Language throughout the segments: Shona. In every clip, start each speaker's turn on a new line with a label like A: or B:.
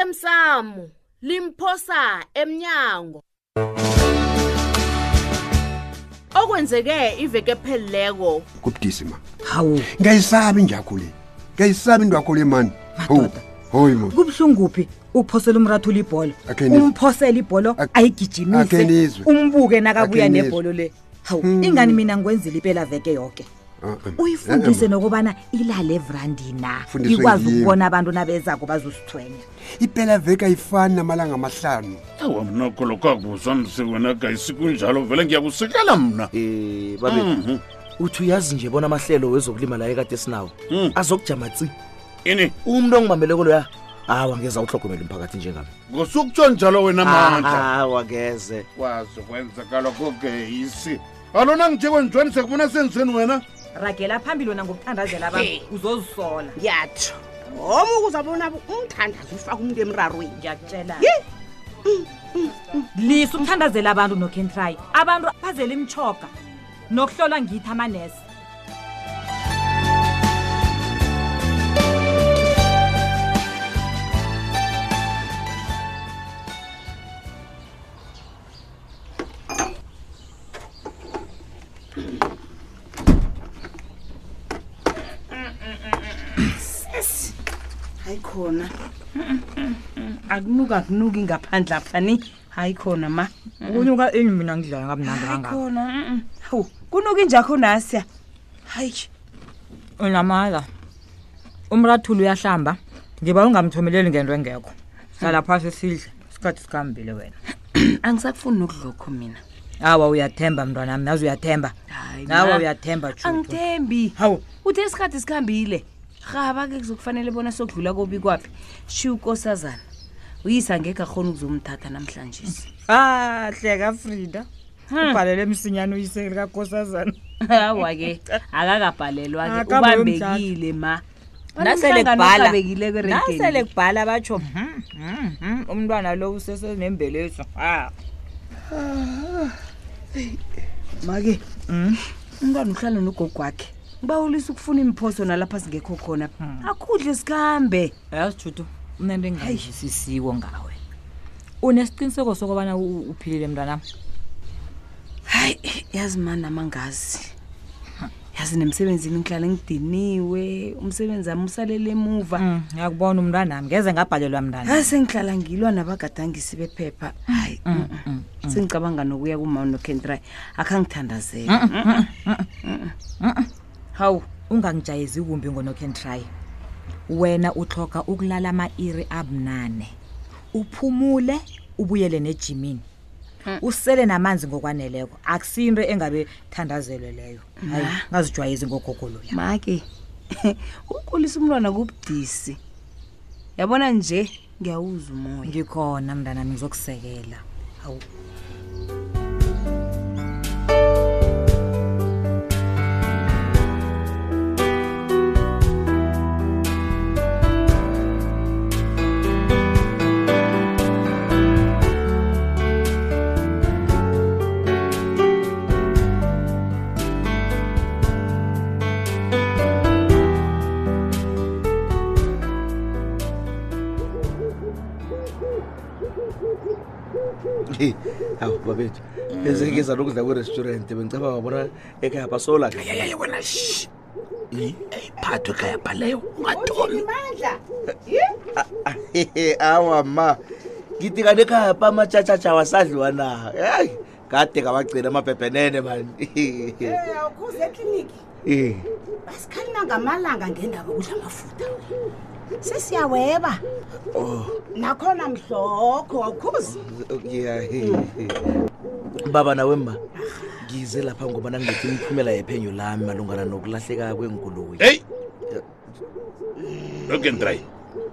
A: lasemsamo limphosa emnyango okwenzeke iveke phelileko
B: kubudisi ma
C: hawu
B: ngiyayisabi injakho le ngiyayisabi into yakho le mani ho
C: Madoda.
B: hoyi mo
C: kubuhlunguphi uphosela umrathula ibholo
B: Akhe nizwe.
C: umphosela ibholo
B: Ak- akhe
C: ayigijimise
B: nizwe.
C: umbuke nakabuya
B: Akhe nizwe. Hmm.
C: nebholo le hawu ingani mina ngikwenzile impela veke yoke
B: Ah, Eh,
C: uyifundise nokubana ilale evrandi na
B: Fundiswe
C: ikwazi
B: yini?
C: ukubona abantu nabezako bazosithwenya
B: ipela veke ayifani namalanga amahlanu
D: awa mna kolokakuzwa msekonaka isikunjalo vele ngiyakusikela mna
E: um babe uthi uyazi nje bona amahlelo wezokulima la ekade esinawo
D: Mhm.
E: azokujama tsi
D: ini
E: umntu ongimameleko loya hawa ngeza uhlogomela umphakathi njengami
D: ngosukutsho njalo wena mandla
E: hawa ngeze
D: kwazi kwenzekala kogeyisi alona ngijekwenjwani sekubona senzeni wena
C: ragela phambili wona ngokuthandazela abantu uzozisola
F: ngiyatsho oma ukuzabona umthandazi ufake umuntu emrarweni
C: ngiyakutshela lisa ukuthandazela abantu nokhentrayi abantu bazela imitshoga nokuhlolwa ngithi amanesi
F: hayi khona
G: akunuka kunuki ngaphandle apha ni hayi khona ma
C: kunyuka ini mina ngidlala ngamnandi kangaka
G: khona mm, mm. hawu kunuka injakho nasiya hayi
C: unamala umrathula uyahlamba ngiba ungamthomeleli ngento engekho hlala phasi sidle isikhathi sikahambile wena
G: angisakufuni nokudlokho mina
C: awa uyathemba mntwana mnazi uyathemba
G: hayi
C: nawe uyathemba Judu.
G: angithembi
C: hawu
G: uthe isikhathi sikhambile rhaba-ke kuzokufanele bona sokudlula kobi kwaphi shiye ukosazana uyisa ngekho akhona ukuzomthatha namhlanje
C: ah hleka frida ubhalele msinyane uyisekele kakosazana
G: hawa-ke akakabhalelwa-ke
C: Akabe yomdlalo.
G: ubambekile ma
C: nasele kubhala
G: Abanomhlangano orhabekileko erenkeni.
C: nasele kubhala batsho "Mhm, mhm, mhm, umntwana lo usesenembeleso Ah,
G: make umntwana uhlala nogogo wakhe ubawulisa ukufuna imphoso nalapha singekho khona akudle sikhambe
C: yazi judu unento engayisisiwo ngawe unesiqiniseko sokubana u- uphilile mntwanam
G: hayi yazi mani namangazi yazi nemsebenzini ngihlala ngidiniwe umsebenzi wami usalele emuva
C: ngiyakubona umntwanam ngeze ngabhalelwa mntana
G: hayi sengihlala ngilwa nabagadangisi bephepha hayi mm, mm. sengicabanga nokuya kumama nokentry akhangithandazele hawu
C: ungangijayizi kumbi ngonokentry wena utloga ukulala ama-iri abunane uphumule ubuyele nejimini
G: Mm.
C: usele namanzi ngokwaneleko akusinto engabe thandazelwe leyo hayi ngazijwayizi ngogogoloya
G: make ukhulisa umntwana kubudisi yabona nje ngiyawuza umoya
C: ngikhona mntanami ngizokusekela hawu
E: awu babethu bezengeza nokudla kwerestaurant bengicaba wabona ekhaya basolaka
H: yaye wena shi iphathwe ekhaya phaleyo ungatoli
E: Ah, awa ma ngithi kanti ekhaya pa amatshatshatsha wasadliwa na hayi kade kawagcina amabhebhenene mani
F: awukhuze ekliniki
E: Eh,
F: basikhalima ngamalanga ngendaba yokudla amafutha sesiyaweba
E: oh,
F: nakhona mhlokho awukhuzi
E: yeah, eh, eh. baba nawe ma ngize lapha ngoba nangilethe imiphumela yephenyo lami malungana nokulahleka kwengoloyi
D: heyi lokendrayi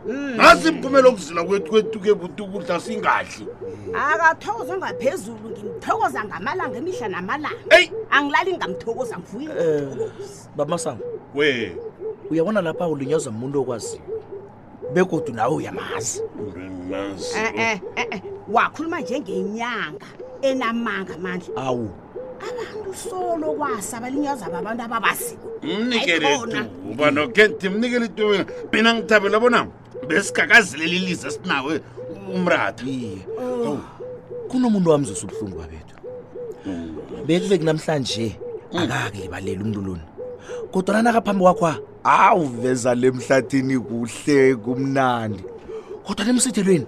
D: Hmm. nasi mphumela okuzila kwethu kwethu ke buti ukudla singadli
F: akathokozwe ngaphezulu ngimthokoza ngamalanga emihla namalanga
D: eyi
F: angilali ngingamthokoza mfuyi
E: Eh, bamasango
D: we
E: uyabona lapha ulinyazwa muntu okwaziyo begodu nawe uyamazi
D: urenazi
C: Eh,
F: e-e e-e Eh, wakhuluma njengenyanga enamanga amandla
E: awu
F: abantu solo kwasa balinyazwa babantu ababaziko
D: mnikele
F: Hayi khona.
D: ituba nokenti mnikele ituba mina ngithabela bona besigakazilela ilizwe esinawe umratha
E: iye Hawu, kunomuntu wamzisa ubuhlungu babethu bekuveki namhlanje akakulibaleli umntu lona kodwana nakaphambi kwakho awuveza le mhlathini kuhle kumnandi kodwa nemsithelweni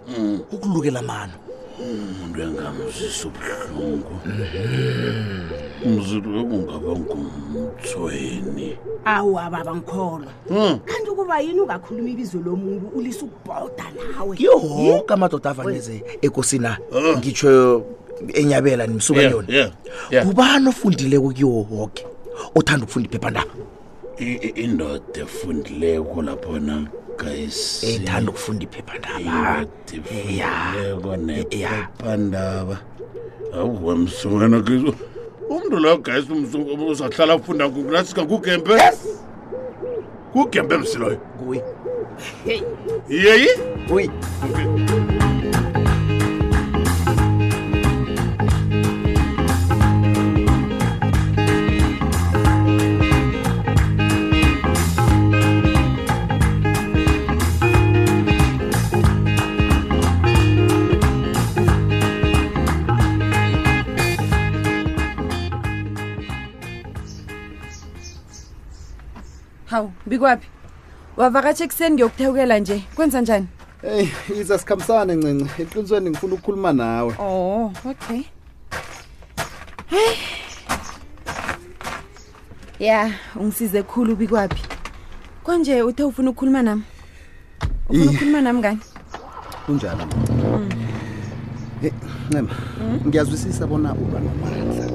E: ukulukela mano
H: umuntu engamzisa ubuhlungu umzulu ekungaba ngumthweni
F: awu ababa ngikholwa
H: Hmm,
F: kanti ukuba yini ungakhuluma ibizo lomuntu ulise ukubhoda nawe
E: yoke amadoda avaneze ekosina ngitsho enyabela nimsuke
D: Yeah,
E: yona
D: yeah, yeah.
E: ngubani ofundileko kuyo woke othanda ukufunda iphephandaba
H: I- i- indoda efundileko laphona kayisi
E: ethanda ukufunda iphephandaba
H: indoda efundileko nephephandaba awuwamsukana kizo
D: umntu loyo gayisi uzahlala afunda kukulasika kugembe kugembe msiloyo
E: nguye
D: yeyi
E: nguye
I: hawu bikwaphi wavakatshe ekuseni ngiyokuthewukela nje kwenza njani
J: eyi iza sikhambisane ncinci eqinisweni ngifuna ukukhuluma nawe
I: oh okay heyi ya ungisize khulu bikwaphi konje uthe ufuna ukukhuluma nami ufuna
J: Iy.
I: ukukhuluma nami kani
J: kunjalo e ncema
I: Hmm?
J: ngiyazwisisa bona uba nomandla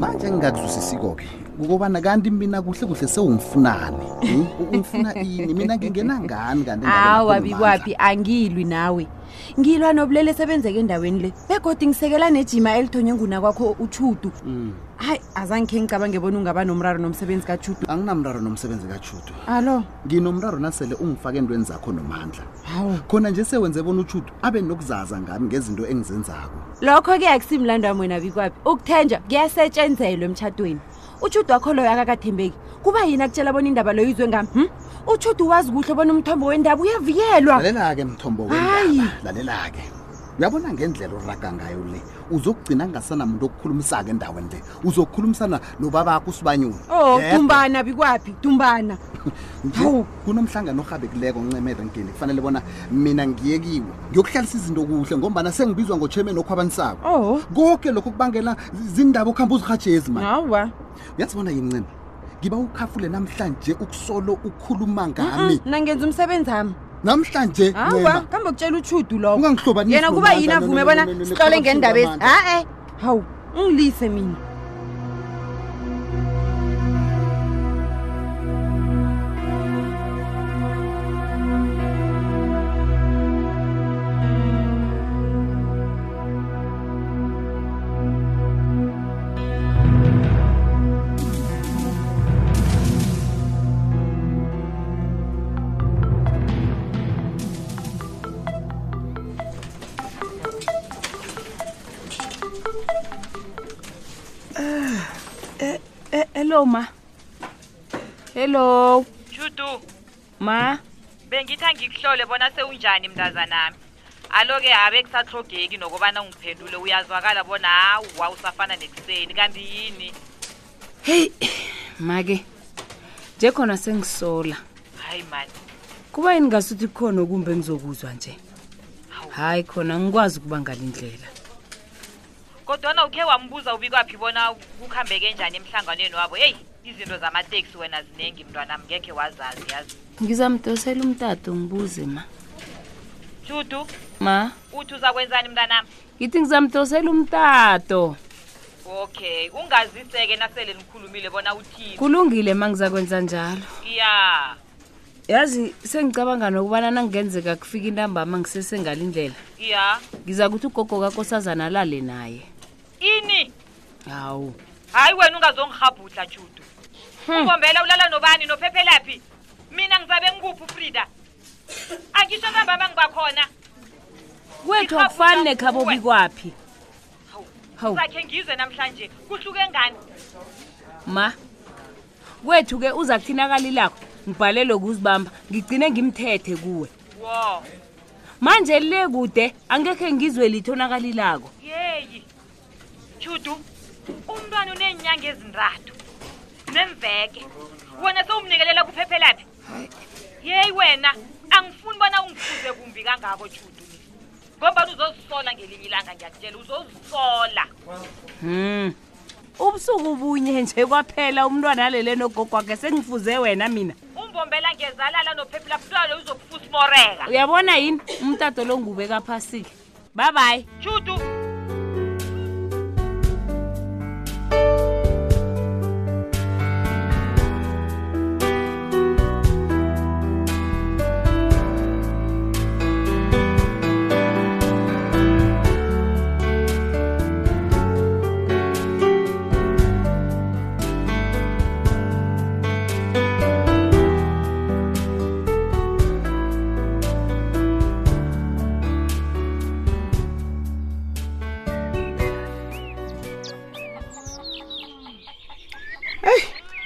J: manje engingakuzwisisiko-ke kukobana kanti mina kuhle kuhle sewungifunani hmm? ungifuna ini mina ngingena ngani kanti endabeni kaKhulu
I: awa
J: Mandla?
I: bikwaphi angilwi nawe ngilwa nobulele esebenzeka endaweni le begodi ngisekela nejima elithonywe nguna kwakho uchudu hayi azange khe ngicabange bona ungaba nomraro nomsebenzi kachudu
J: anginamraro nomsebenzi kajudu
I: alo
J: nginomraro nasele ungifake entweni zakho nomandla
I: hawu
J: khona nje sewenze bona ujudu abe nokuzaza ngami ngezinto engizenzako
I: lokho-ke akusimlando wami wena bikwaphi ukuthenjwa kuyasetshenzelwa emtshatweni utshudu wakho loyo akakathembeki kuba yini akutshela bona indaba loyo izwe ngami hm? utshudu wazi kuhle bona umthombo wendaba uyavikelwa
J: lalela-ke mthombo
I: Hayi.
J: wendaba lalela-ke uyabona ngendlela oraga ngayo le uzokugcina kungasanamuntu okukhulumisa-ke endaweni le uzokukhulumisana nobabakho usibanyoni
I: o oh,
J: Yedwa.
I: dumbana bikwaphi dumbana
J: Nje,
I: Hawu.
J: kunomhlangano orhabekileko ncemera ngeni kufanele bona mina ngiye kiwo ngiyokuhlalisa izinto kuhle ngombana sengibizwa ngochemeni okhwabanisako
I: o oh.
J: konke lokho kubangela zindaba okuhamba uzirhatshezi mani
I: awa
J: uyazibona yincema ngiba ukhafule namhlanje ukusolo ukhuluma ngami
I: Mm, nangenza umsebenzi ami
J: namhlanje
I: hawa
J: ncema
I: kambe kutshela utshudu lowo
J: ungangihlobanisi
I: yena kuba
J: nomandla,
I: yini
J: no, no,
I: avume
J: no,
I: bona
J: no, no, no,
I: sihlole
J: no, no,
I: ngendaba ezi
J: nomandla.
I: ha-e hawu ungilise mina
G: Eh, hello ma hello
K: Judu,
G: ma
K: bengithi angikuhlole bona sewunjani mntazanami. Alo-ke abe kusatlogeki nokubana ungiphendule uyazwakala bona hawa usafana nekuseni kanti yini
G: heyi make nje khona sengisola
K: hayi mani
G: kuba yini ngasuthi kukhona okumbe engizokuzwa nje hayi khona ngikwazi ukuba ngalindlela
K: kodwana ukhe wambuza ubikwaphi bona kukhambeke njani emhlanganweni wabo heyi izinto zamateksi wena ziningi mntwanami ngekhe wazazi yazi
I: ngizamdosela umtato ngibuze ma
K: judu
I: ma
K: uthi uzakwenzani mntanami
I: ngithi ngizamdosela umtato
K: okay ungaziseke nasele nikhulumile bona uthini
I: kulungile ma ngizakwenza njalo
K: iya
I: yazi sengicabanga nokubana nangenzeka kufika intambama ngisesengalindlela
K: iya
I: ngiza kuthi ugogo kakosazana alale naye
K: ini
I: hawu
K: hayi wena ungazongihabhudla judu
G: Hmm.
K: ubombela ulala nobani nophephelaphi mina ngizabe ngikuphi ufrida angisho kambama ngibakhona
I: kwethu
K: Ikhabu
I: akufani
K: lakho
I: nekhabobi
K: kuwe.
I: kwaphi
K: hawu
I: hawu
K: zakhe ngizwe namhlanje kuhluke ngani
I: ma kwethu-ke uza kuthinakali lakho ngibhalelwe kuzibamba ngigcine ngimthethe kuwe
K: wo
L: manje le kude angekhe ngizwe litho nakalilako
K: yeyi judu umntwana uneenyanga ezintathu nemveke wena sewumnikelela kuphephelaphi yeyi wena angifuni bona ungifuze kumbi kangako judu ni ngombani uzozisola ngelinye ilanga ngiyakutshela uzozisola
L: Hmm. Ubusuku bunye nje kwaphela umntwana lele nogogwakhe sengifuze wena mina.
K: umbombela ngezalala nophephela mntwana uzokufusa umoreka
L: Uyabona yini umtato lo ngubeka phasike. Bye bye.
K: judu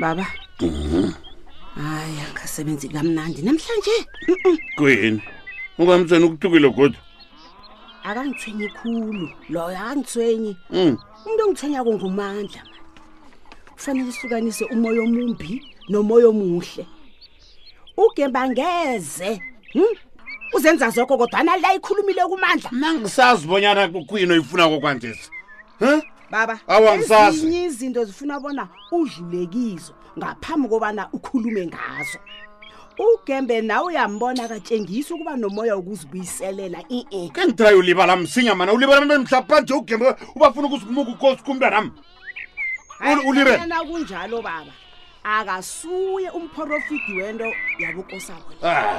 F: baba hayi angasebenzi kamnandi namhlanje
D: kuyini ungamtseni ukuthukile godwa
F: akangithwenyi khulu loyo akangithwenyi
D: Mm.
F: umuntu ongithwenyako ngumandla man. kufanele ihlukanise umoya omumbi nomoya omuhle ugemba ngeze hmm? uzenza zokho kodwana la ikhulumile kumandla
D: nangisazi bonyana kuyini oyifunako kwanjesi Huh?
F: baba
D: Awa, ngisazi.
F: ezinye izinto zifuna bona udlulekizo ngaphambi kobana ukhulume ngazo ugembe nawe uyambona katshengisa ukuba nomoya wokuzibuyiselela i-e
D: kengitiraye ulibala msinya mana ulibala mntu mhlaphanje ugembe ubafuna ukusimuka ukosi kumntanam ulibele
F: Ayana kunjalo baba akasuye umprofiti wento yabukosabo
D: Ah,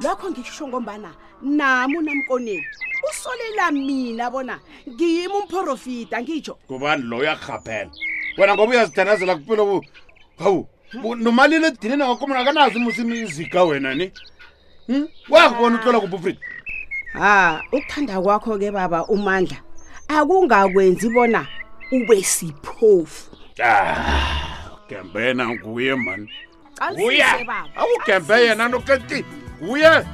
F: lokho ngisho ngombana nami unamkoneni usolela mina bona ngiyimi umprofita ngitsho
D: ngubani loyo akurhaphela wena ngoba uyazidanazela kupilo bu- hawu bu- nomalile edinini ngakomona akanazo imusimi izika wena ni Hmm? wakubona utlola kuphi ufrika
F: ha ukuthanda kwakho ke baba umandla akungakwenzi bona ube siphofu
D: Ah, gembe yena nguye mani
F: Uya. baba.
D: Ah, awugembe yena noketi nguye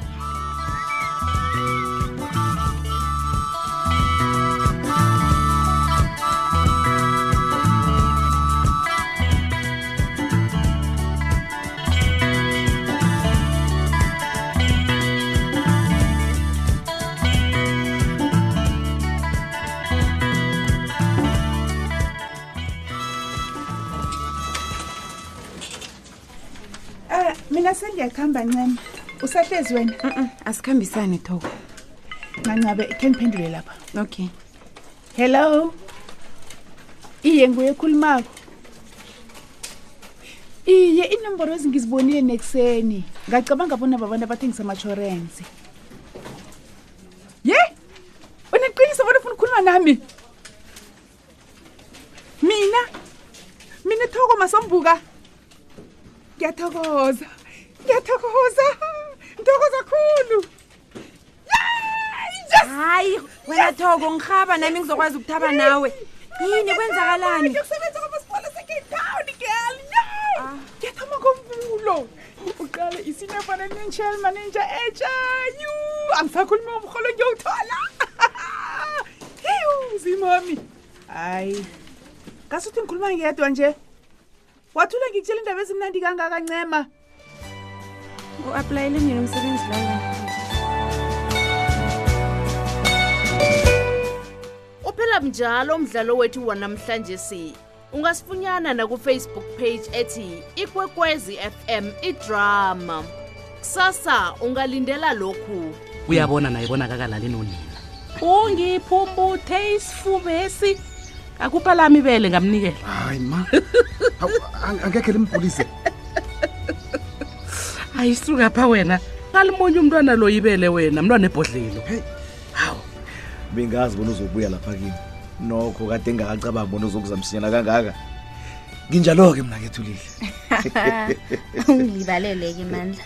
M: Ah, mina sengiyakuhamba ncema usahlezi wena
N: asikhambisane thoko
M: nancabe khe ngiphendule lapha
N: okay
M: hello iye nguye ekhulumako iye inomboro ezingizibonile nekuseni ngacabanga bona babantu abathengisa amatshorensi
N: ye uneqiniso bona ufuna ukukhuluma nami mina mina thoko masombuka ngiyathokoza ngiyathokoza ngithokoza khulu
I: hayi wena thoko ngihaba nami ngizokwazi ukuthaba nawe yini kwenzakalani
N: ngiyokusebenza kwamasipala se-cape town girl no
I: Ah.
N: ngiyathoma ngomvulo uqale isinefana nenshel manenja etsha yu angisakhulumi ngomrholo ngiyowuthola hiwu zimami hayi ngasuthi ngikhuluma ngedwa nje wathula ngikutshela indaba ezimnandi kangakancema
I: u-aplayele mina umsebenzi lawo
A: uphela njalo umdlalo wethu wanamhlanje si ungasifunyana nakufacebook page ethi ikwekwezi fm idrama kusasa ungalindela lokhu
O: uyabona naye bonakakalali nonina
L: Ungiphumbuthe isifubesi. Akupha lami ibele ngamnikela.
J: hayi ma Hawu, ang- angekhe limbulise
O: hayi suka pha wena ngalimonye umntwana lo ibele wena mntwana ebhodlelo
E: bengazi bona uzobuya lapha kini nokho kade ngingakacabanga bona uzokuza msinyana kangaka nginjalo-ke mna kethulile
P: ungilibalele-ke mandla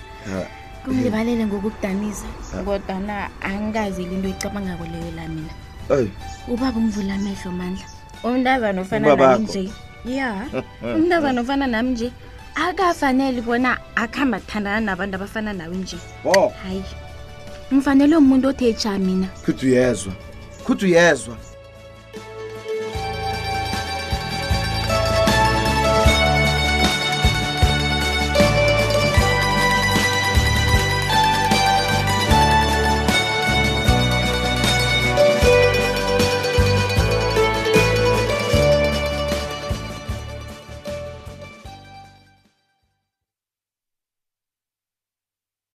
P: ungilibalele ngokukudanisa
E: Ah.
P: kodwana angingazi into icabangako leyo la mina
E: eyi
P: ubaba umvula amehlo mandla umntazana ofana
E: Ubabakho?
P: nami nje ya umntazana ofana nami nje akafanele bona akuhamba kuthandana nabantu abafana nawe nje
E: bo
P: hayi
Q: ngifanelwe umuntu othe ja mina
P: khuthi uyezwa khuthi uyezwa